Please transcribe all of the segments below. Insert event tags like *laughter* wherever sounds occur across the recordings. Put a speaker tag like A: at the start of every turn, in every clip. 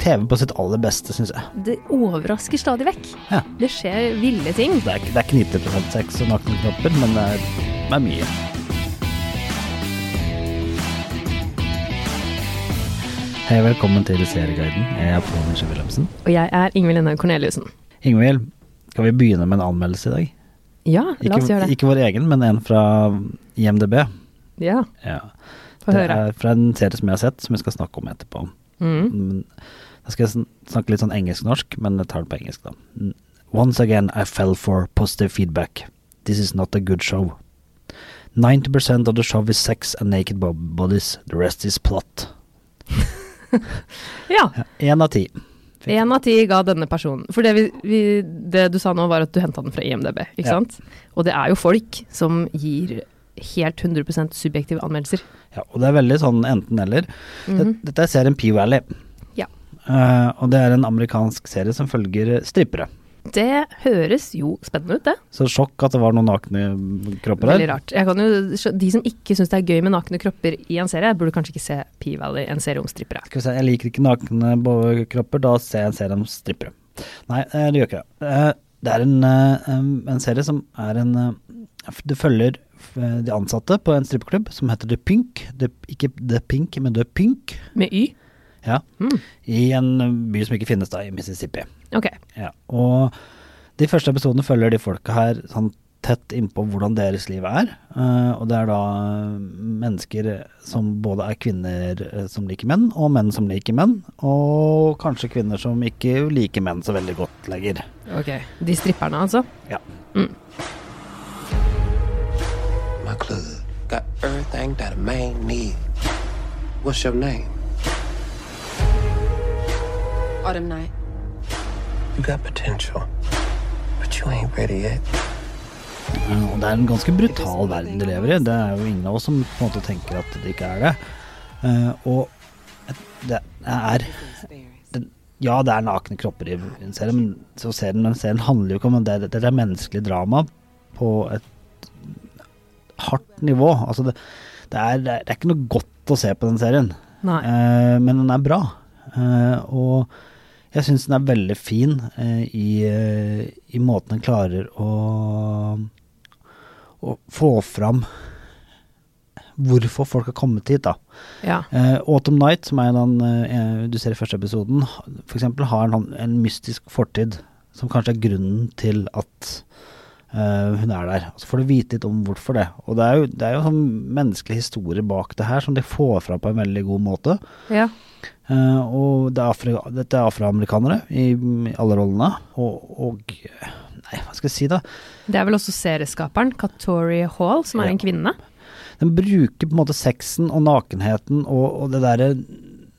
A: TV på sitt aller beste, syns jeg.
B: Det overrasker stadig vekk.
A: Ja.
B: Det skjer ville ting.
A: Det er, ikke- det er ikke 90 sex og nakne kropper, men det er, det er mye. Hei, velkommen til Serieguiden. Jeg er Pål Nisje Wilhelmsen.
B: Og jeg er Ingvild Enne Corneliussen.
A: Ingvild, skal vi begynne med en anmeldelse i dag?
B: Ja, la oss
A: Ikke,
B: gjøre det.
A: ikke vår egen, men en fra IMDb.
B: Ja,
A: Ja.
B: Få
A: Det
B: høre.
A: er fra en serie som jeg har sett, som vi skal snakke om etterpå.
B: Mm.
A: Men Da skal jeg sn- snakke litt sånn engelsk-norsk, men jeg tar det på engelsk, da. Mm. Once again I fell for positive feedback. This is not a good show. 90% of the show is sex and naked bo- bodies. The rest is plot.
B: Ja.
A: Én av ti. Fikk-
B: Én av ti ga denne personen. For det, vi, vi, det du sa nå, var at du henta den fra IMDb, ikke
A: Ja.
B: sant? Og det er jo folk som gir helt 100 subjektive anmeldelser.
A: Ja, og det er veldig sånn enten-eller.
B: Mhm.
A: Dette er serien P-Valley.
B: Ja.
A: Eh, og det er en amerikansk serie som følger strippere.
B: Det høres jo spennende ut, det.
A: Så sjokk at det var noen nakne kropper her.
B: Veldig rart. Jeg kan jo, de som ikke syns det er gøy med nakne kropper i en serie, burde kanskje ikke se P-Valley, en serie om strippere.
A: Skal vi se, jeg liker ikke nakne bo- kropper, da ser jeg en serie om strippere. Nei, eh, det gjør ikke det. Eh, Det er en, eh, em, en serie som er en eh, f- Det følger eh, de ansatte på en strippeklubb som heter The Pink. The, ikke The Pink, men The Pink.
B: Med Y.
A: Ja.
B: Mm.
A: I en eh, by som ikke finnes, da, i Mississippi.
B: Ok.
A: Ja. Og de første episodene følger de folka her sånn tett innpå hvordan deres liv er. Eh, og det er da eh, mennesker som både er kvinner eh, som liker menn, og menn som liker menn. Og kanskje kvinner som ikke liker menn så veldig godt lenger.
B: ok. De stripperne, altså.
A: Ja.
C: My club got everything that a man need. What's your name?
D: Autumn night.
C: You got potential, but you ain't ready yet.
A: Eh, og det er en ganske brutal verden de lever i. Det er jo ingen av oss som på en måte tenker at det ikke er det. Eh, og et- det er den, Ja, det er nakne kropper i en serie, men så serien, men serien handler jo ikke om det. Det er menneskelig drama på et hardt nivå. Altså, det, det, er, det er ikke noe godt å se på den serien,
B: Nei.
A: Eh, men den er bra. Eh, og jeg syns den er veldig fin eh, i, eh, i måten den klarer å, å få fram hvorfor folk har kommet hit, da.
B: Ja.
A: Eh, Autumn Night, som er den eh, du ser i første episoden, for eksempel har en, sånn- en mystisk fortid som kanskje er grunnen til at eh, hun er der. Og så får du vite litt om hvorfor det. Og det er jo, det er jo sånn menneskelig historie bak det her som de får fram på en veldig god måte.
B: ja.
A: Eh, og det er afri, dette er afroamerikanere i, i alle rollene. Og, og Nei, hva skal jeg si, da?
B: Det er vel også serieskaperen, Katori Hall, som er
A: Ja.
B: en kvinne.
A: Den bruker på en måte sexen og nakenheten og, og det derre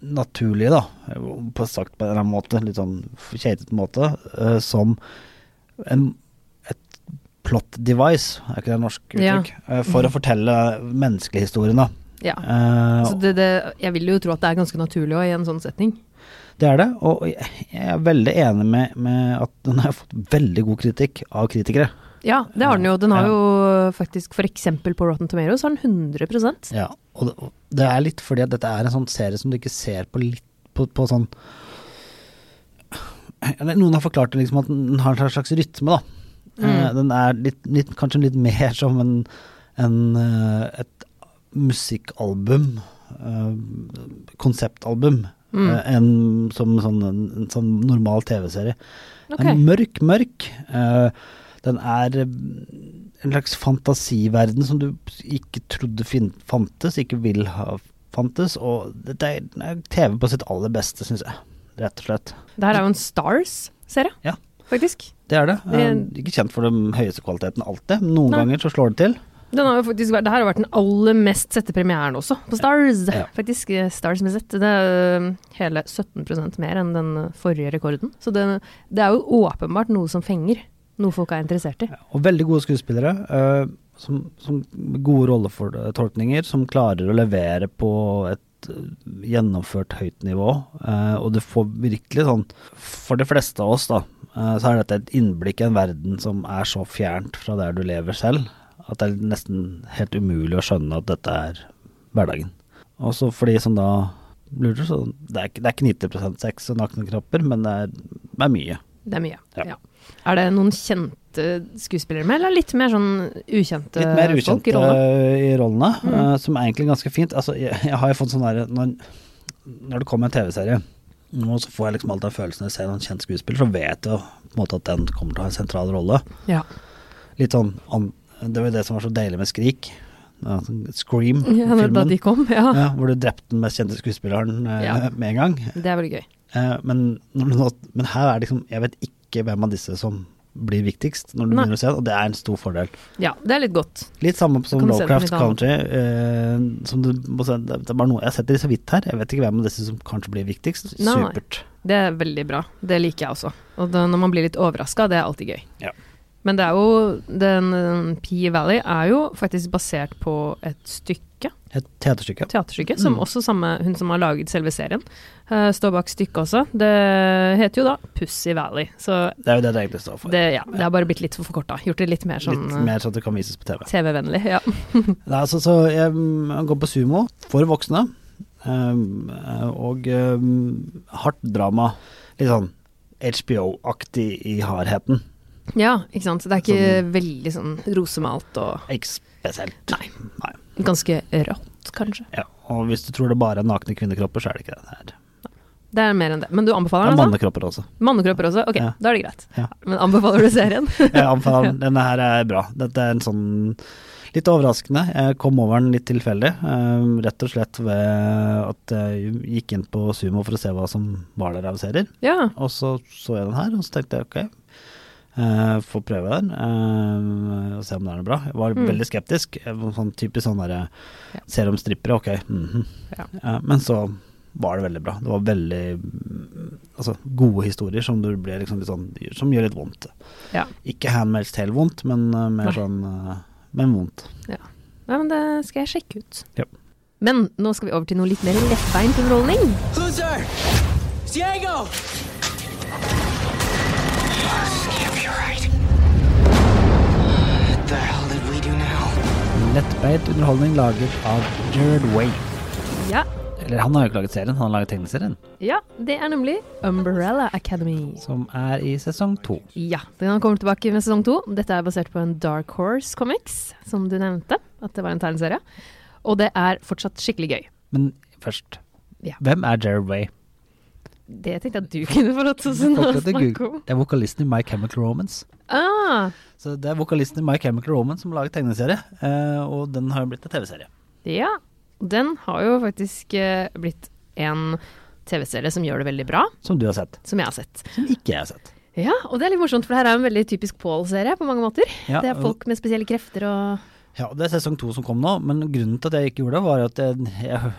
A: naturlige, da, på sagt på en eller annen måte, litt sånn keitete måte, eh, som en, et plot device, er ikke det norsk
B: Ja.
A: uttrykk, Eh, for å fortelle menneskehistorien, da.
B: Ja.
A: Eh,
B: Så det, det, jeg vil jo tro at det er ganske naturlig også i en sånn setning.
A: Det er det, og jeg jeg er veldig enig med, med at den har fått veldig god kritikk av kritikere.
B: Ja, det har den jo. Den har
A: Ja.
B: jo faktisk for eksempel på Rotten Tomatoes har den 100
A: Ja, og det, og det er litt fordi at dette er en sånn serie som du ikke ser på litt på, på sånn Eller Noen har forklart det liksom at den har en slags rytme, da. Eh, Den er litt, litt, kanskje litt mer som en, en eh, et musikkalbum, eh, konseptalbum, eh, enn som sånn, en, en sånn normal TV-serie. Den
B: Ok.
A: er mørk, mørk. eh, den er eh, en slags fantasiverden som du ikke trodde fin fantes, ikke vil ha fantes. Og dette er, den er TV på sitt aller beste, syns jeg. Rett og slett.
B: Det her er jo en Stars-serie,
A: Ja.
B: faktisk.
A: Det er det. Eh,
B: Det-
A: ikke kjent for den høyeste kvaliteten alltid. men Noen
B: Nei.
A: ganger så slår det til.
B: Den har jo faktisk vært, det her har vært den aller mest sette premieren også, på Stars.
A: Ja.
B: Faktisk eh, Stars med Z. Det er eh, hele 17 mer enn den eh, forrige rekorden. Så det, det er jo åpenbart noe som fenger. Noe folk er interessert i.
A: Og veldig gode skuespillere. eh, som, som med gode rolletolkninger, som klarer å levere på et eh, gjennomført høyt nivå. eh, og du får virkelig sånn For de fleste av oss, da, eh, så er dette et innblikk i en verden som er så fjernt fra der du lever selv, at det er nesten helt umulig å skjønne at dette er hverdagen. Også for de som da lurer, så det er, ikke- det er ikke 90 sex og nakne kropper, men det er, det er mye.
B: Det er mye.
A: Ja.
B: Ja. Er det noen kjente skuespillere med, eller litt mer sånn ukjente,
A: Litt mer
B: eh, folk
A: ukjente
B: i Mm. rollene?
A: i rollene, eh, som er egentlig ganske fint. Altså, jeg, jeg har jo fått sånn derre når, når det kommer en TV-serie, nå så får jeg liksom alltid den følelsen når jeg ser noen kjent skuespiller, så vet jeg jo på en måte at den kommer til å ha en sentral rolle.
B: Ja. *laughs*
A: Litt sånn an, Det var jo det som var så deilig med Skrik. Ja, sånn Scream,
B: ja når, da
A: filmen.
B: de kom, ja.
A: Ja, hvor du drepte den mest kjente skuespilleren eh,
B: Ja.
A: med en gang.
B: Det er veldig gøy.
A: Eh, men, når du nå- men her er det liksom Jeg vet ikke hvem av disse som blir viktigst når du
B: Nei.
A: begynner å se det, og det er en stor fordel.
B: Ja, det er litt godt.
A: Litt samme som
B: Kan du se det på
A: Lovecraft
B: litt annet?
A: Country. Eh, som du må se, det det er bare noe Jeg setter det så vidt her. Jeg vet ikke hvem av disse som kanskje blir viktigst.
B: Nei.
A: Supert.
B: Det er veldig bra. Det liker jeg også. Og da, når man blir litt overraska, det er alltid gøy.
A: Ja.
B: Men det er jo den eh, P Valley er jo faktisk basert på et stykke,
A: Et teaterstykke.
B: teaterstykke, som også samme hun som har laget selve serien, eh, står bak stykket også. Det heter jo da Pussy Valley. Så
A: Det er jo det det egentlig står for.
B: det, ja, det er bare blitt litt for forkorta. Gjort det litt mer sånn
A: Litt
B: eh,
A: mer sånn at det kan vises på TV.
B: TV-vennlig. Ja. *laughs*
A: Nei, altså, så jeg mm, går på sumo for voksne. Um, eh, og um, hardt drama. Litt sånn HBO-aktig i hardheten.
B: ja, ikke sant. Så Det er ikke veldig sånn rosemalt og
A: Ikke spesielt.
B: Nei. ganske rått, kanskje.
A: Ja, og hvis du tror det bare er nakne kvinnekropper, så er det ikke det. Det er,
B: Det er mer enn det. Men du
A: det
B: anbefaler
A: er
B: den, altså?
A: mannekropper også.
B: Mannekropper også? Ok,
A: Ja.
B: da er det greit.
A: Ja.
B: Men anbefaler du serien?
A: *laughs*
B: *laughs*
A: Jeg anbefaler den. Denne her er bra. Dette er en sånn litt overraskende. Jeg kom over den litt tilfeldig. eh, Rett og slett ved at jeg gikk inn på Sumo for å se hva som var der av serier.
B: ja.
A: Og så så jeg den her, og så tenkte jeg ok, eh, får prøve den eh, og se om det er noe bra. Jeg var veldig skeptisk. Jeg var sånn typisk sånn derre
B: Mm. Ja.
A: Ser om strippere, ok. mhm.
B: Ja.
A: Eh, Men så var det veldig bra. Det var veldig mm, altså, gode historier som du ble liksom litt sånn Som gjør litt vondt.
B: ja.
A: Ikke handmelds tale vondt, men eh, mer
B: Nei.
A: sånn eh, Men vondt.
B: Nei, men det skal jeg sjekke ut.
A: Ja.
B: Men nå skal vi over til noe litt mer lettbeint underholdning.
D: Loser! Diego!
E: What the hell did we do now?
A: Lettbeit underholdning laget av Jared Way.
B: Ja.
A: Eller han har jo ikke laget serien, han har laget tegneserien,
B: ja, det er nemlig Umbrella Academy.
A: som er i sesong to.
B: Ja, den kommer tilbake med sesong to. Dette er basert på en Dark Horse Comics, som du nevnte. At det var en tegneserie. Og det er fortsatt skikkelig gøy.
A: Men først,
B: Ja.
A: hvem er Jared
B: *laughs*
A: Way?
B: Det tenkte jeg at du *laughs* kunne få lov til å
A: Folk heter Gud.
B: snakke om.
A: Det er vokalisten i My Chemical Romance.
B: Ah,
A: Så det er vokalisten i My Chemical Romance som har laget tegneserie, eh, og den har jo blitt en TV-serie.
B: ja. Den har jo faktisk eh, blitt en TV-serie som gjør det veldig bra,
A: Som du har sett.
B: som jeg har sett.
A: Som ikke jeg har sett.
B: Ja, og det er litt morsomt, for det her er en veldig typisk Paul-serie på mange måter.
A: Ja,
B: det er folk med spesielle krefter og
A: Ja, det er sesong to som kom nå, men grunnen til at jeg ikke gjorde det, var at jeg, jeg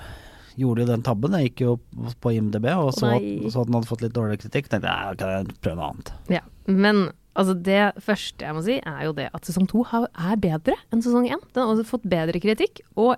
A: gjorde jo den tabben. Jeg gikk jo på IMDb og så, at,
B: Nei.
A: og så at den hadde fått litt dårlig kritikk. tenkte jeg, ja, kan jeg prøve noe annet.
B: Ja. Men altså, det første jeg må si, er jo det at sesong to har- er bedre enn sesong én. Den har også fått bedre kritikk, og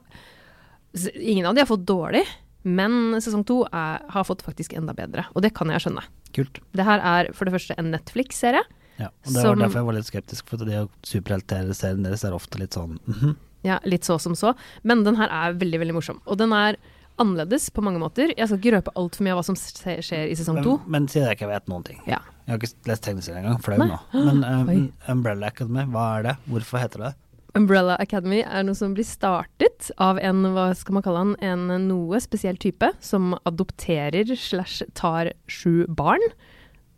B: s- ingen av de har fått dårlig. Men sesong to er, har fått faktisk enda bedre, og det kan jeg skjønne.
A: Kult.
B: Det her er for det første en Netflix-serie.
A: Ja, og Det
B: Som-
A: var derfor jeg var litt skeptisk, for det å superheltserien deres er ofte litt sånn mhm.
B: Ja, litt så som så. Men den her er veldig, veldig morsom. Og den er annerledes på mange måter. Jeg skal ikke røpe altfor mye av hva som se- skjer i sesong
A: men,
B: to.
A: men siden jeg ikke vet noen ting.
B: Ja.
A: Jeg har ikke lest tegneserien engang, flau
B: Nei.
A: nå.
B: *gasps*
A: Men eh,
B: Oi.
A: Umbrella Academy, hva er det? Hvorfor heter det det?
B: Umbrella Academy er noe som blir startet av en, hva skal man kalle han, en noe spesiell type som adopterer slash tar sju barn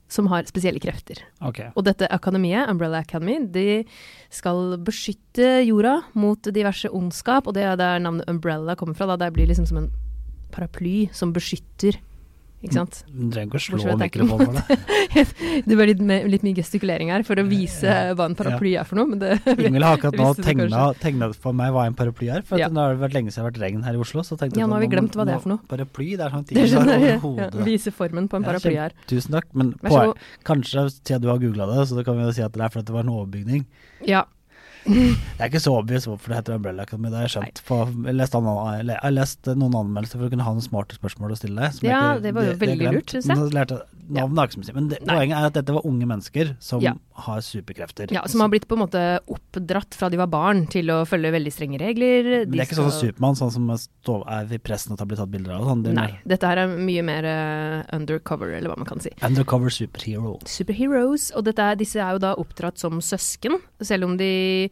B: som har spesielle krefter.
A: Ok.
B: Og dette akademiet, Umbrella Academy, de skal beskytte jorda mot diverse ondskap, og det er der navnet Umbrella kommer fra, da det blir liksom som en paraply som beskytter, ikke sant?
A: Du trenger ikke å slå
B: Bortsett fra at jeg ikke
A: mikrofonen for det.
B: Det var litt, mer- litt mye gestikulering her for å vise hva en paraply er for noe, men det *laughs*
A: Ingvild har akkurat nå
B: Visste du
A: tegna, tegna for meg hva en paraply er. For at
B: Ja.
A: nå har det vært lenge siden det har vært regn her i Oslo. Så tenkte jeg
B: Ja, nå har
A: sånn,
B: vi glemt hva det er for noe.
A: *laughs* Paraply, det er sånn ting du
B: Det
A: har
B: skjønner
A: over
B: jeg. Ja,
A: hodet.
B: vise formen på en
A: Ja,
B: paraply
A: kjempe-
B: her.
A: Tusen takk, men
B: Vær så
A: poen-
B: god.
A: kanskje siden du har googla det, så kan vi jo si at det er fordi det var en overbygning.
B: Ja,
A: Jeg er ikke så overbevist om hvorfor det heter Umbrella Academy, det har jeg skjønt. På, jeg, har lest annen, eller jeg har lest noen anmeldelser for å kunne ha noen smarte spørsmål å stille deg. som jeg
B: Ja,
A: ikke-
B: det var jo
A: jeg
B: veldig
A: glemt.
B: lurt, synes jeg.
A: Men så lærte jeg- Navnet er ikke så mye å si, men det,
B: Nei.
A: poenget er at dette var unge mennesker som
B: Ja.
A: har superkrefter.
B: Ja, Som har blitt på en måte oppdratt fra de var barn til å følge veldig strenge regler.
A: men det er ikke sånn som Supermann, sånn som står- er i pressen og har blitt tatt bilder av. og Sånn. Det er
B: Nei.
A: mer
B: Dette her er mye mer eh, undercover, eller hva man kan si.
A: Undercover superhero.
B: Superheroes, og dette er, disse er jo da oppdratt som søsken, selv om de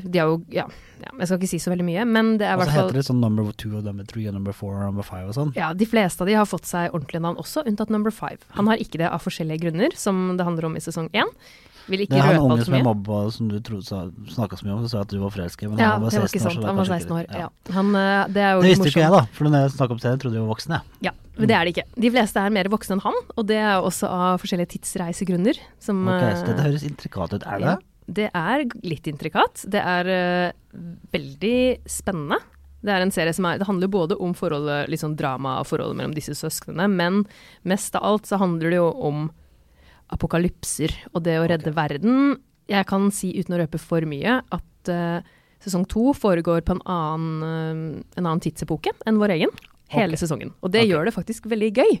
B: De er jo ja, ja, jeg skal ikke si så veldig mye, men det er i
A: Og
B: hvert
A: så
B: fall
A: heter det sånn number two og number three og number four og number five og sånn.
B: Ja, De fleste av de har fått seg ordentlige navn også, unntatt number five. Han har ikke det av forskjellige grunner, som det handler om i sesong én. Vil
A: Det
B: ikke
A: er han
B: røpe
A: unge
B: alt
A: som
B: for
A: jeg
B: mye.
A: mobba som du trodde sa- snakka så mye om, og sa at du var forelska i. Men
B: Ja,
A: han var
B: det var
A: 16 år. så
B: ikke sant.
A: det er
B: Han var
A: kanskje
B: 16 år.
A: riktig.
B: Ja. Han, eh, det er jo
A: Det visste jo ikke jeg,
B: morsomt.
A: da. For når jeg snakka om serien, trodde jeg var voksen, jeg.
B: Ja, men det er det ikke. De fleste er mer voksne enn han, og det er også av forskjellige tidsreisegrunner. Som,
A: Ok, så dette
B: eh,
A: høres intrikat ut. Er det?
B: Ja, det er g- litt intrikat. Det er eh, veldig spennende. Det er en serie som er, det handler både om forholdet, litt sånn drama og forholdet mellom disse søsknene, men mest av alt så handler det jo om apokalypser og det å redde verden. Jeg kan si uten å røpe for mye at eh, sesong to foregår på en annen, eh, en annen tidsepoke enn vår egen. Hele
A: Ok.
B: sesongen. Og det
A: Ok.
B: gjør det faktisk veldig gøy.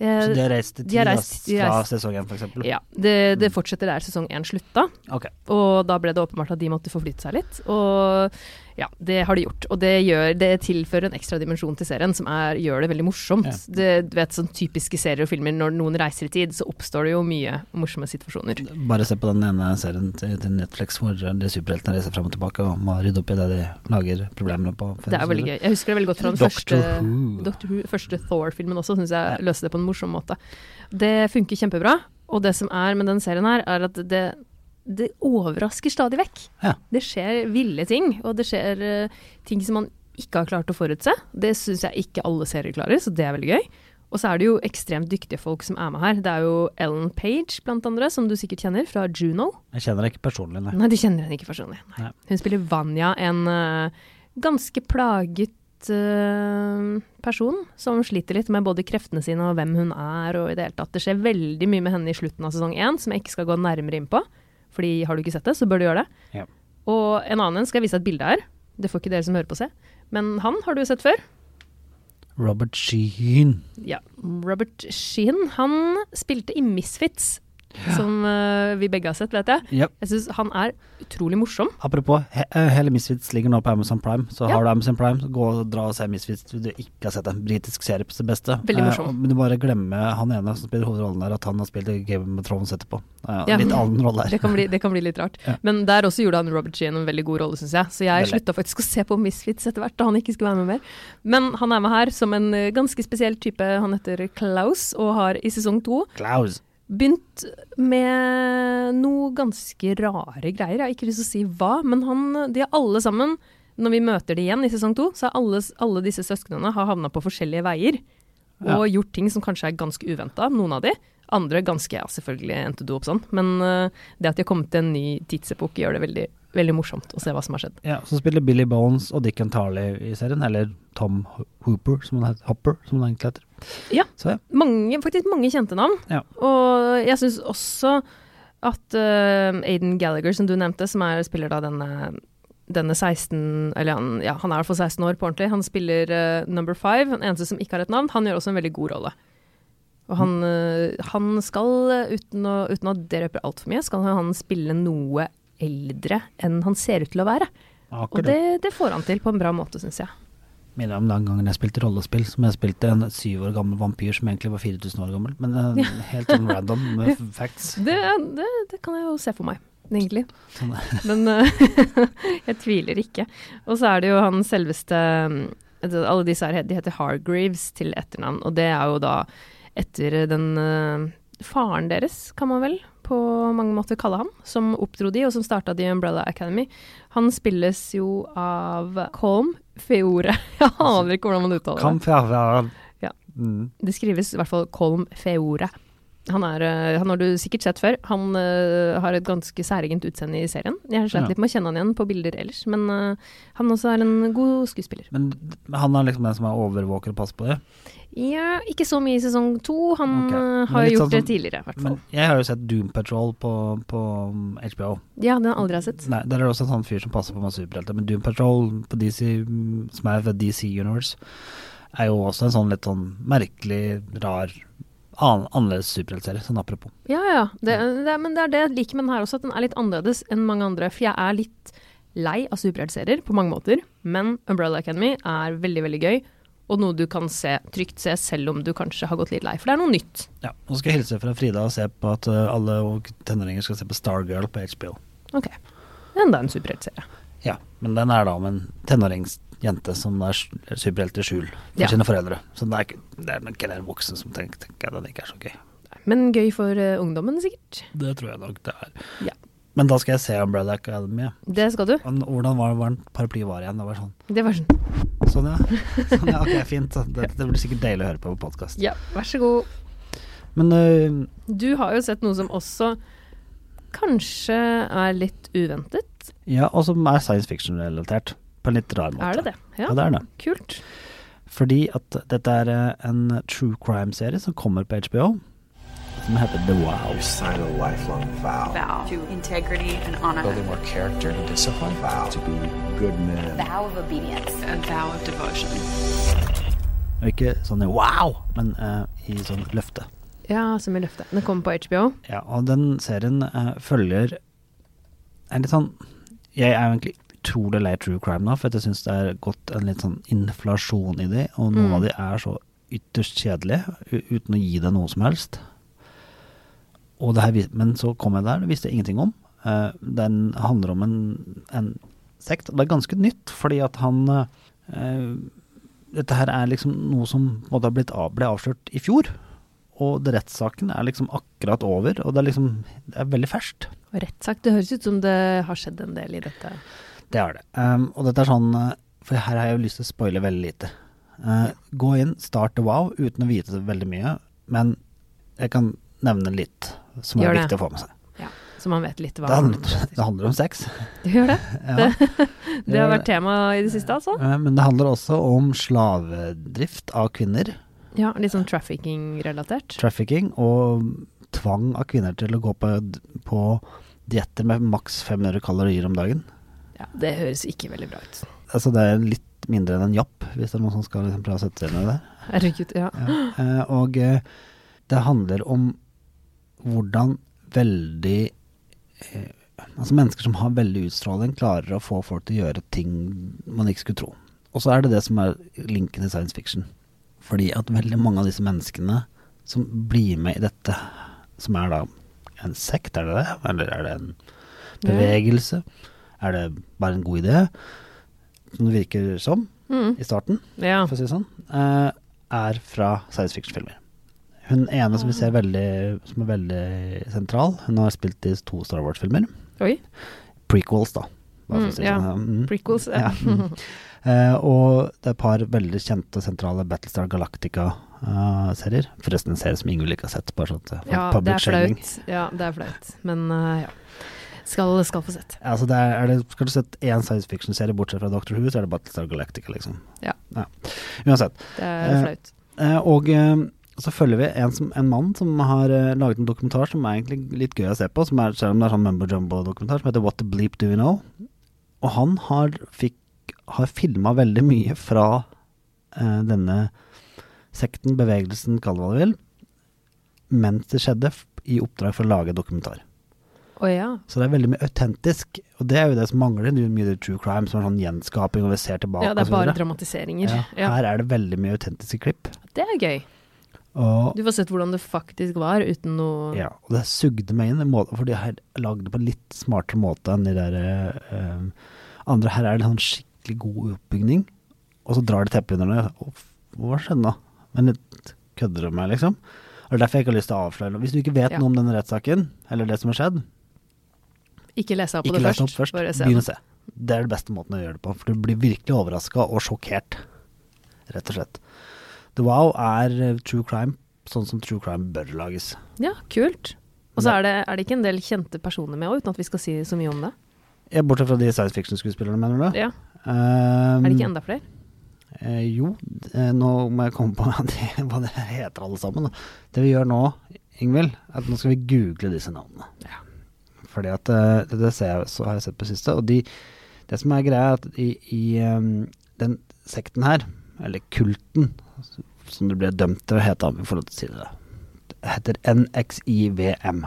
B: Eh,
A: Så de har reist til
B: de
A: tid
B: har
A: da,
B: reist- de har
A: fra
B: reist-
A: sesong én, for eksempel?
B: ja, det, det fortsetter der sesong én slutta.
A: Ok.
B: Og da ble det åpenbart at de måtte forflytte seg litt. Og ja, det har de gjort. Og det, gjør, det tilfører en ekstra dimensjon til serien som er, gjør det veldig morsomt.
A: Ja.
B: Det, du vet, sånn typiske serier og filmer, når noen reiser i tid, så oppstår det jo mye morsomme situasjoner.
A: Bare se på den ene serien til til Netflix hvor de superheltene reiser frem og tilbake og må rydde opp i det de lager problemene på.
B: Det er veldig gøy. Jeg husker det veldig godt fra den
A: Doctor
B: første,
A: Who.
B: Doctor Who, første Thor-filmen også, syns jeg løste det på en morsom måte. Det funker kjempebra, og det som er med den serien her, er at det, det overrasker stadig vekk.
A: Ja.
B: Det skjer ville ting, og det skjer eh, ting som man ikke har klart å forutse. Det syns jeg ikke alle serier klarer, så det er veldig gøy. Og så er det jo ekstremt dyktige folk som er med her. Det er jo Ellen Page, blant andre, som du sikkert kjenner, fra Juno.
A: Jeg kjenner det ikke personlig, nei.
B: Nei, du kjenner henne ikke personlig. Nei.
A: Nei.
B: Hun spiller Vanja, en eh, ganske plaget eh, person som sliter litt med både kreftene sine og hvem hun er og i det hele tatt. Det skjer veldig mye med henne i slutten av sesong én som jeg ikke skal gå nærmere inn på. Fordi har du ikke sett det, så bør du gjøre det.
A: Ja.
B: Og en annen en skal jeg vise et bilde her. Det får ikke dere som hører på se. Men han har du sett før.
A: Robert Sheen.
B: Ja, Robert Sheen. Han spilte i Misfits, som eh, vi begge har sett, vet jeg.
A: Ja.
B: Jeg syns han er utrolig morsom.
A: Apropos, he eh, hele Misfits ligger nå på Amazon Prime, så
B: Ja.
A: har du Amazon Prime, så gå og dra og se Misfits hvis du ikke har sett en britisk serie på sitt beste.
B: Veldig morsom.
A: Eh, og- men du bare glemmer han ene som spiller hovedrollen der, at han har spilt i Game of Thrones etterpå. Eh,
B: Ja.
A: Litt annen rolle her.
B: Det kan bli, det kan bli litt rart.
A: Ja.
B: Men der også gjorde han Robert Sheen en veldig god rolle, syns jeg. Så jeg
A: Veldig.
B: slutta faktisk å se på Misfits etter hvert, da han ikke skulle være med mer. Men han er med her som en eh, ganske spesiell type. Han heter Klaus og har i sesong to
A: Klaus.
B: begynt med noe ganske rare greier. Jeg har ikke lyst til å si hva, men han, de er alle sammen Når vi møter de igjen i sesong to, så er alle, alle disse søsknene har havna på forskjellige veier. Og gjort ting som kanskje er ganske uventa, noen av de. Andre ganske ja, selvfølgelig endte du opp sånn. Men eh, det at de har kommet til en ny tidsepoke, gjør det veldig, veldig morsomt å se hva som har skjedd.
A: Ja, så spiller Billy Bones og Dick and Tarley i serien, eller Tom Ho- Hooper, som han heter. Hopper, som han egentlig heter.
B: Ja.
A: Så ja.
B: Mange, faktisk mange kjente navn.
A: ja.
B: Og jeg syns også at eh, Aiden Gallagher, som du nevnte, som er, spiller da denne, denne 16 Eller han, ja, han er i hvert fall 16 år på ordentlig. Han spiller eh, number five, den eneste som ikke har et navn. Han gjør også en veldig god rolle. Og han, eh, han skal, eh, uten, å, uten at det røper altfor mye, skal han spille noe eldre enn han ser ut til å være. Og
A: Akkurat.
B: det, det får han til på en bra måte, syns jeg.
A: Minner om den gangen jeg spilte rollespill, som jeg spilte en syv år gammel vampyr som egentlig var 4000 år gammel, men eh, helt sånn random
B: *laughs*
A: med f- facts.
B: Det, det, det kan jeg jo se for meg, egentlig.
A: Sånn.
B: Men eh, *laughs* jeg tviler ikke. Og så er det jo han selveste mm, Alle disse her, de heter Hargreaves til etternavn, og det er jo da etter den eh, faren deres, kan man vel på mange måter kalle han, som oppdro de, og som starta The Umbrella Academy. Han spilles jo av Colm Feore. *laughs* Jeg aner ikke hvordan man uttaler det.
A: Kan fra, fra
B: Ja.
A: Mm.
B: Det skrives i hvert fall Colm Feore. Han, er, eh, han har du sikkert sett før. Han eh, har et ganske særegent utseende i serien. Jeg har
A: Ja.
B: slet litt med å kjenne han igjen på bilder ellers, men eh, han også er en god skuespiller.
A: Men d- han er liksom den som er overvåker og passer på det.
B: Ja, ikke så mye i sesong to. Han
A: Ok.
B: eh,
A: Men
B: har
A: litt
B: gjort
A: sånn
B: det
A: som-
B: tidligere, i hvert
A: Men
B: fall.
A: jeg har jo sett Doom Patrol på, på um, HBO.
B: Ja, den har jeg aldri har sett.
A: Nei, Der er det også en sånn fyr som passer på med superhelter. Men Doom Patrol, på DC, mm, som er ved DC Universe, er jo også en sånn litt sånn merkelig, rar An annerledes superheltserie, sånn apropos.
B: Ja, ja. Det, det, er- men det er det jeg liker med den her også, at den er litt annerledes enn mange andre. For jeg er litt lei av superheltserier på mange måter, men Umbrella Academy er veldig, veldig gøy. Og noe du kan se, trygt se, selv om du kanskje har gått litt lei. For det er noe nytt.
A: Ja, Nå skal jeg hilse fra Frida og se på at eh, alle og tenåringer skal se på Stargirl på HBO.
B: Ok. Enda en superheltserie.
A: Ja, men den er da om en tenåringsjente som er s- superhelt i skjul for
B: Ja.
A: sine foreldre. Så det er, ikke- det er nok ikke en voksen som tenker, tenker at det ikke er så gøy.
B: Men gøy for eh, ungdommen, sikkert.
A: Det tror jeg nok det er.
B: Ja.
A: Men da skal jeg se Umbrella Academy. ja.
B: Det skal du.
A: Men Hvordan var, var den paraply var igjen? Det var sånn.
B: Det var sånn.
A: Sånn, ja. Sånn, ja
B: *laughs*
A: ok, fint. Så Det, det blir sikkert deilig å høre på på podkast.
B: Ja, vær så god.
A: Men øh,
B: Du har jo sett noe som også kanskje er litt uventet.
A: ja, og som er science fiction-relatert. På en litt rar måte.
B: Er det det?
A: Ja,
B: Ja,
A: det er det.
B: kult.
A: Fordi at dette er eh, en true crime-serie som kommer på HBO. Som heter The Wow.
F: sign a lifelong vow
G: vow to integrity and honor,
C: more character and discipline.
F: to be good men.
G: vow of obedience, a vow of devotion.
A: Og ikke sånn wow, men eh, i sånn løfte.
B: Ja, som i løftet. Den kommer på HBO.
A: Ja, og den serien eh, følger er litt sånn Jeg er jo egentlig utrolig lei true crime nå, for at jeg syns det er gått en litt sånn inflasjon i de, og noen av de er så ytterst kjedelige u- uten å gi deg noe som helst. Og det her, vis- men så kom jeg der, det visste jeg ingenting om. Eh, den handler om en, en sekt, og det er ganske nytt, fordi at han eh, Dette her er liksom noe som på en måte har blitt av, ble avslørt i fjor. Og det- rettssaken er liksom akkurat over, og det er liksom Det er veldig ferskt.
B: Og rett sagt, det høres ut som det har skjedd en del i dette.
A: Det er det. Um, og dette er sånn eh, For her har jeg jo lyst til å spoile veldig lite. Eh, gå inn, start The Wow uten å vite så veldig mye, men jeg kan nevne litt som er
B: Gjør det.
A: viktig å få med seg.
B: Ja, så man vet litt hva
A: Det handler, det handler om sex.
B: Det gjør det.
A: Ja.
B: *laughs* Det har vært tema i det siste, altså.
A: Eh, Men det handler også om slavedrift av kvinner,
B: Ja, Litt sånn trafficking-relatert.
A: trafficking, og tvang av kvinner til å gå på, på dietter med maks 500 kalorier om dagen.
B: Ja, Det høres ikke veldig bra ut.
A: Altså det er litt mindre enn en japp, hvis det er noen som skal liksom prøve å sette seg inn i det.
B: Herregud, ja.
A: Eh, og eh, det handler om hvordan veldig eh, Altså mennesker som har veldig utstråling, klarer å få folk til å gjøre ting man ikke skulle tro. Og så er det det som er linken til science fiction. Fordi at veldig mange av disse menneskene som blir med i dette, som er da en sekt, er det det? Eller er det en bevegelse? Er det bare en god idé? Som det virker som i starten
B: Mm. ja.
A: for å si det sånn, eh, er fra science fiction-filmer. Hun ene som vi ser
B: Ah.
A: veldig, som er veldig sentral, hun har spilt i to Star Wars-filmer.
B: Oi.
A: Prequels, da. bare for å
B: Mm,
A: si det
B: ja.
A: sånn. Mm.
B: Prequels.
A: Ja,
B: *laughs* Ja.
A: mm. Eh, og det er et par veldig kjente sentrale Battlestar Galactica-serier. Forresten en serie som Ingvild ikke har sett. Bare sånn til
B: ja, det
A: public
B: er
A: shaming.
B: flaut. Ja, det er flaut. Men eh, ja. Skal, skal få sett.
A: Altså det er, er det, skal du sette én science fiction-serie bortsett fra Doctor Who, så er det Battlestar Galactica, liksom.
B: Ja.
A: Uansett.
B: Det er
A: Eh,
B: flaut.
A: Eh, og eh, så følger vi en, som, en mann som har eh, laget en dokumentar som er egentlig litt gøy å se på, som er, selv om det er sånn Mumbo Jumbo-dokumentar, som heter What the Bleep Do You Know? Og han har, fikk- har filma veldig mye fra eh, denne sekten, bevegelsen, kall det hva du vil, mens det skjedde, f- i oppdrag for å lage dokumentar.
B: Å ja.
A: Så det er veldig mye autentisk, og det er jo det som mangler. Det er jo mye true crime som er sånn gjenskaping, og vi ser tilbake
B: ja.
A: og
B: Det er
A: så
B: bare
A: videre.
B: dramatiseringer.
A: Ja,
B: Ja,
A: her er det veldig mye autentiske klipp.
B: Det er gøy.
A: Og
B: Du får sett hvordan det faktisk var, uten noe
A: Ja, og det sugde meg inn, i måten- for de har lagd det på en litt smartere måte enn de der eh, andre. Her er det sånn skikkelig god oppbygning, og så drar de teppet under det. Og f- Hva skjedde nå? Men det kødder de meg, liksom. Og det er derfor jeg ikke har lyst til å avsløre noe. Hvis du ikke vet
B: Ja.
A: noe om denne rettssaken, eller det som har skjedd,
B: Ikke lese opp på
A: ikke
B: det
A: les
B: først.
A: opp først.
B: Bare se.
A: Begynn å se. Det er den beste måten å gjøre det på, for du blir virkelig overraska og sjokkert, rett og slett. The Wow er eh, true crime sånn som true crime bør lages.
B: Ja, kult. Og så er det, er det ikke en del kjente personer med òg, uten at vi skal si så mye om det.
A: Ja, Bortsett fra de science fiction-skuespillerne, mener du?
B: Ja.
A: Um,
B: Er det ikke enda flere?
A: Eh, jo, eh, nå må jeg komme på *laughs* hva det, hva det heter alle sammen. Da. Det vi gjør nå, Ingvild, er at nå skal vi google disse navnene. Fordi at eh, det, det ser jeg, så har jeg sett på siste. Og de, det som er greia, er at i, i em, den sekten her, eller kulten, som det ble dømt til å hete, om vi får lov til å si det, heter NXIVM.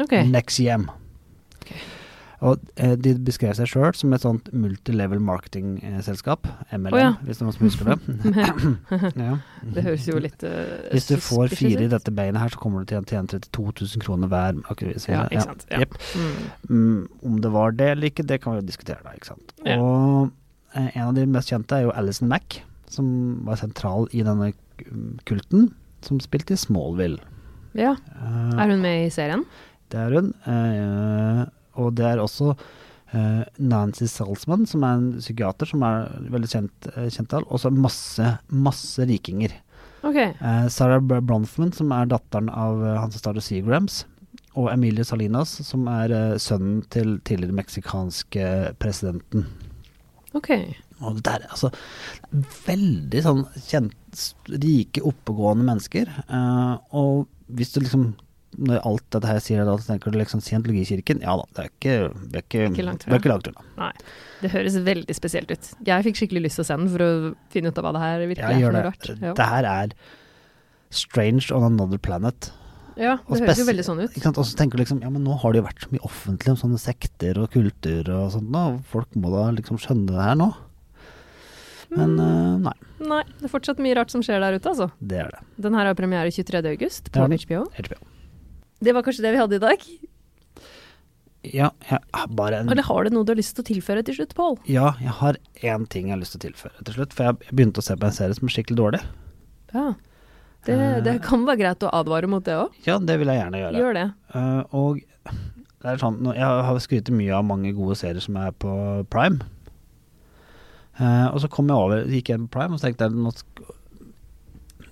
B: Ok.
A: NXIVM. Og eh, de beskrev seg sjøl som et sånt multilevel marketing-selskap. MLM,
B: Å ja.
A: hvis det er noen som husker det.
B: *laughs*
A: *laughs* ja.
B: Det høres jo litt eh,
A: Hvis du får
B: suspicious
A: fire i
B: ut.
A: dette beinet her, så kommer du til å tjene 32 000 kroner hver. Akkurat,
B: Ja, ikke sant. Ja.
A: Jepp.
B: Mm.
A: Mm, om det var det eller ikke, det kan vi jo diskutere da, ikke sant.
B: Ja.
A: Og eh, en av de mest kjente er jo Alison Mack, som var sentral i denne mm, kulten, som spilte i Smallville.
B: ja.
A: Eh,
B: Er hun med i serien?
A: det er hun. Eh, og det er også eh, Nancy Salzman, som er en psykiater som er veldig kjent, eh, kjent av, og så masse, masse rikinger.
B: Ok.
A: Eh, Sarah Br- Bronfman, som er datteren av eh, han som startet Seagrams, og Emilio Salinas, som er eh, sønnen til tidligere meksikanske presidenten.
B: Ok.
A: Og det er altså veldig sånn kjent, s- rike, oppegående mennesker. Eh, og hvis du liksom når alt dette her sier deg da, så tenker du liksom Scientologikirken? Ja da, det er ikke, det er ikke,
B: Ikke langt
A: det er
B: unna.
A: ikke langt unna.
B: Nei. Det høres veldig spesielt ut. Jeg fikk skikkelig lyst til å se den for å finne ut av hva det her virkelig
A: Jeg
B: er
A: gjør det.
B: for noe rart. Ja.
A: Det her er strange on another planet.
B: ja,
A: Og
B: det høres jo
A: spes-
B: veldig sånn ut.
A: Ikke sant? Og så tenker du liksom, ja, men nå har det jo vært så mye offentlig om sånne sekter og kultur og sånt nå, og folk må da liksom skjønne det her nå. Men
B: Mm.
A: eh, nei,
B: Nei, det er fortsatt mye rart som skjer der ute, altså.
A: det er det.
B: Den her har premiere 23. august
A: Det
B: på
A: har den.
B: HBO.
A: HBO.
B: Det var kanskje det vi hadde i dag.
A: Ja, jeg har bare en
B: Eller har du noe du har lyst til å tilføre til slutt, Pål?
A: Ja, jeg har én ting jeg har lyst til å tilføre til slutt, for jeg begynte å se på en serie som er skikkelig dårlig.
B: Ja. Det, det kan være greit å advare mot det òg.
A: Ja, Eh. det vil jeg gjerne gjøre.
B: Gjør det.
A: Eh, og det er sånn, nå- jeg har skrytt mye av mange gode serier som er på Prime. Eh, og så kom jeg over, gikk jeg på Prime og så tenkte jeg, nå sk-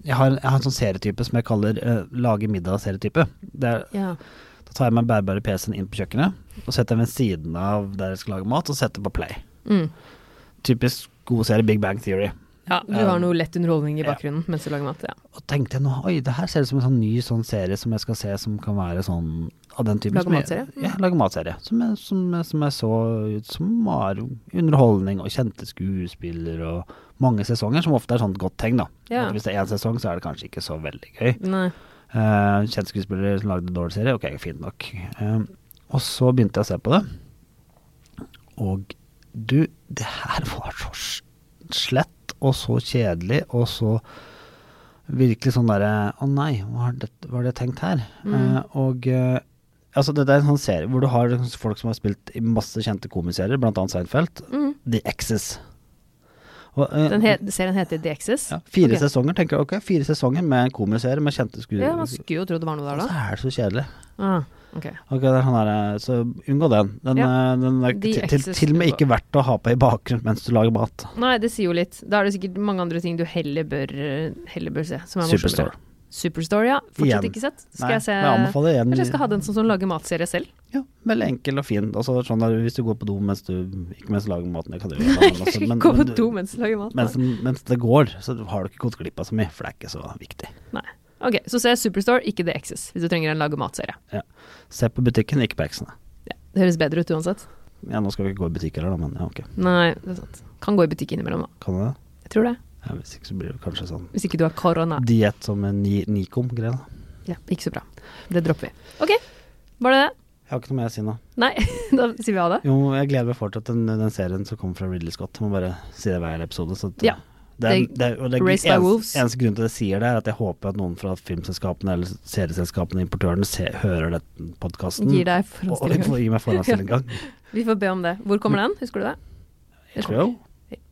A: jeg, har, jeg har en sånn serietype som jeg kaller eh, lage middag-serietype. Det er-
B: Ja.
A: Da tar jeg meg bærbare PC-en inn på kjøkkenet og setter den ved siden av der jeg skal lage mat, og setter på play.
B: Mm.
A: Typisk god serie Big Bang Theory.
B: ja. Du har noe lett underholdning i bakgrunnen mens du lager mat. Ja.
A: Og tenkte jeg nå, oi, det her ser ut som en sånn ny sånn serie som jeg skal se som kan være sånn av den typen.
B: Lage
A: som jeg-
B: matserie?
A: Ja, lage matserie. Som jeg, som, jeg- som jeg så ut som var underholdning og kjente skuespiller og mange sesonger, som ofte er sånn godt tegn, da.
B: Ja.
A: At hvis det er én sesong, så er det kanskje ikke så veldig gøy.
B: Nei.
A: Eh, kjent skuespiller som lagde en dårlig serie, ok, fint nok. Eh, og så begynte jeg å se på det. Og du, det her var så s- slett og så kjedelig og så virkelig sånn derre Å nei, hva har det, hva har det tenkt her?
B: Mm.
A: Eh, og eh, altså, det er en sånn serie hvor du har liksom folk som har spilt i masse kjente komiserier, blant annet Seinfeld. The Exes. Og, eh,
B: Mm. Den he serien heter The Exes.
A: ja, fire
B: Ok.
A: sesonger, tenker jeg. Ok, fire sesonger med en komiserie med kjente
B: Ja, man
A: skuespillere.
B: skulle jo tro det var noe der,
A: Og
B: da.
A: så er det så kjedelig.
B: Ah, ok.
A: Ok, det er sånn her, eh, Så unngå den. Den,
B: Ja.
A: eh, den er
B: De
A: til, til,
B: exes
A: til og med
B: unngå.
A: ikke verdt å ha på i bakgrunnen mens du lager mat.
B: Nei, det sier jo litt. Da er det sikkert mange andre ting du heller bør, heller bør se. Som er
A: Superstore.
B: morsommere. Superstore, ja.
A: Igjen.
B: Fortsatt ikke sett. Skal
A: Nei,
B: jeg se
A: men jeg anbefaler igjen-
B: Kanskje jeg skal ha den sånn som, som lager matserie selv.
A: Ja, Veldig enkel og fin. Altså, sånn der, hvis du går på do mens du ikke mens du lager maten det kan du
B: *laughs*
A: gjøre, men altså, men-
B: Gå på
A: men du-
B: do mens du lager mat.
A: mens, mens det går, så har du ikke gått glipp av så mye, for det er ikke så viktig.
B: Nei. Ok, så se Superstore, ikke The Exes, hvis du trenger en lage matserie.
A: Ja. Se på butikken, ikke på eksene.
B: Ja, det høres bedre ut uansett.
A: Ja, nå skal vi ikke gå i butikk heller, da, men ja, ok.
B: Nei, det er sant. Kan gå i butikk innimellom, da.
A: Kan du det?
B: Jeg tror det.
A: Ja, hvis ikke så blir det kanskje sånn
B: Hvis ikke du har korona.
A: diett som en ni Nikom-greie. da.
B: Ja, ikke så bra. Det dropper vi. Ok, var det det?
A: Jeg har ikke noe mer å si nå.
B: Nei, *laughs* da sier vi ha det.
A: Jo, jeg gleder meg fortsatt til den, den serien som kommer fra Ridley Scott. Jeg må bare si det hver episode. Så at,
B: Ja.
A: Det er,
B: Det-
A: det er, og det er
B: Raised by
A: eneste-
B: Wolves.
A: Eneste grunn til at jeg sier det, er at jeg håper at noen fra filmselskapene eller serieselskapene, importørene, se, hører denne podkasten.
B: Gir deg
A: og, og
B: forestillinga.
A: gir meg forhåndsstilling
B: *laughs*
A: en gang.
B: Vi får be om det. Hvor kommer den? Husker du det? Det kommer.
A: HBO.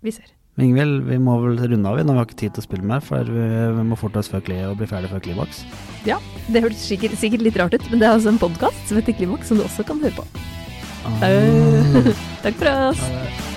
B: Vi ser.
A: Men Ingvild, vi må vel runde av, vi. Nå har vi ikke tid til å spille mer, for vi, vi må forte oss før Kli og bli ferdig før Klimaks.
B: Ja, det hørtes sikkert, sikkert litt rart ut, men det er altså en podkast som heter Klimaks, som du også kan høre på. *laughs* Takk for oss.
A: Ha det.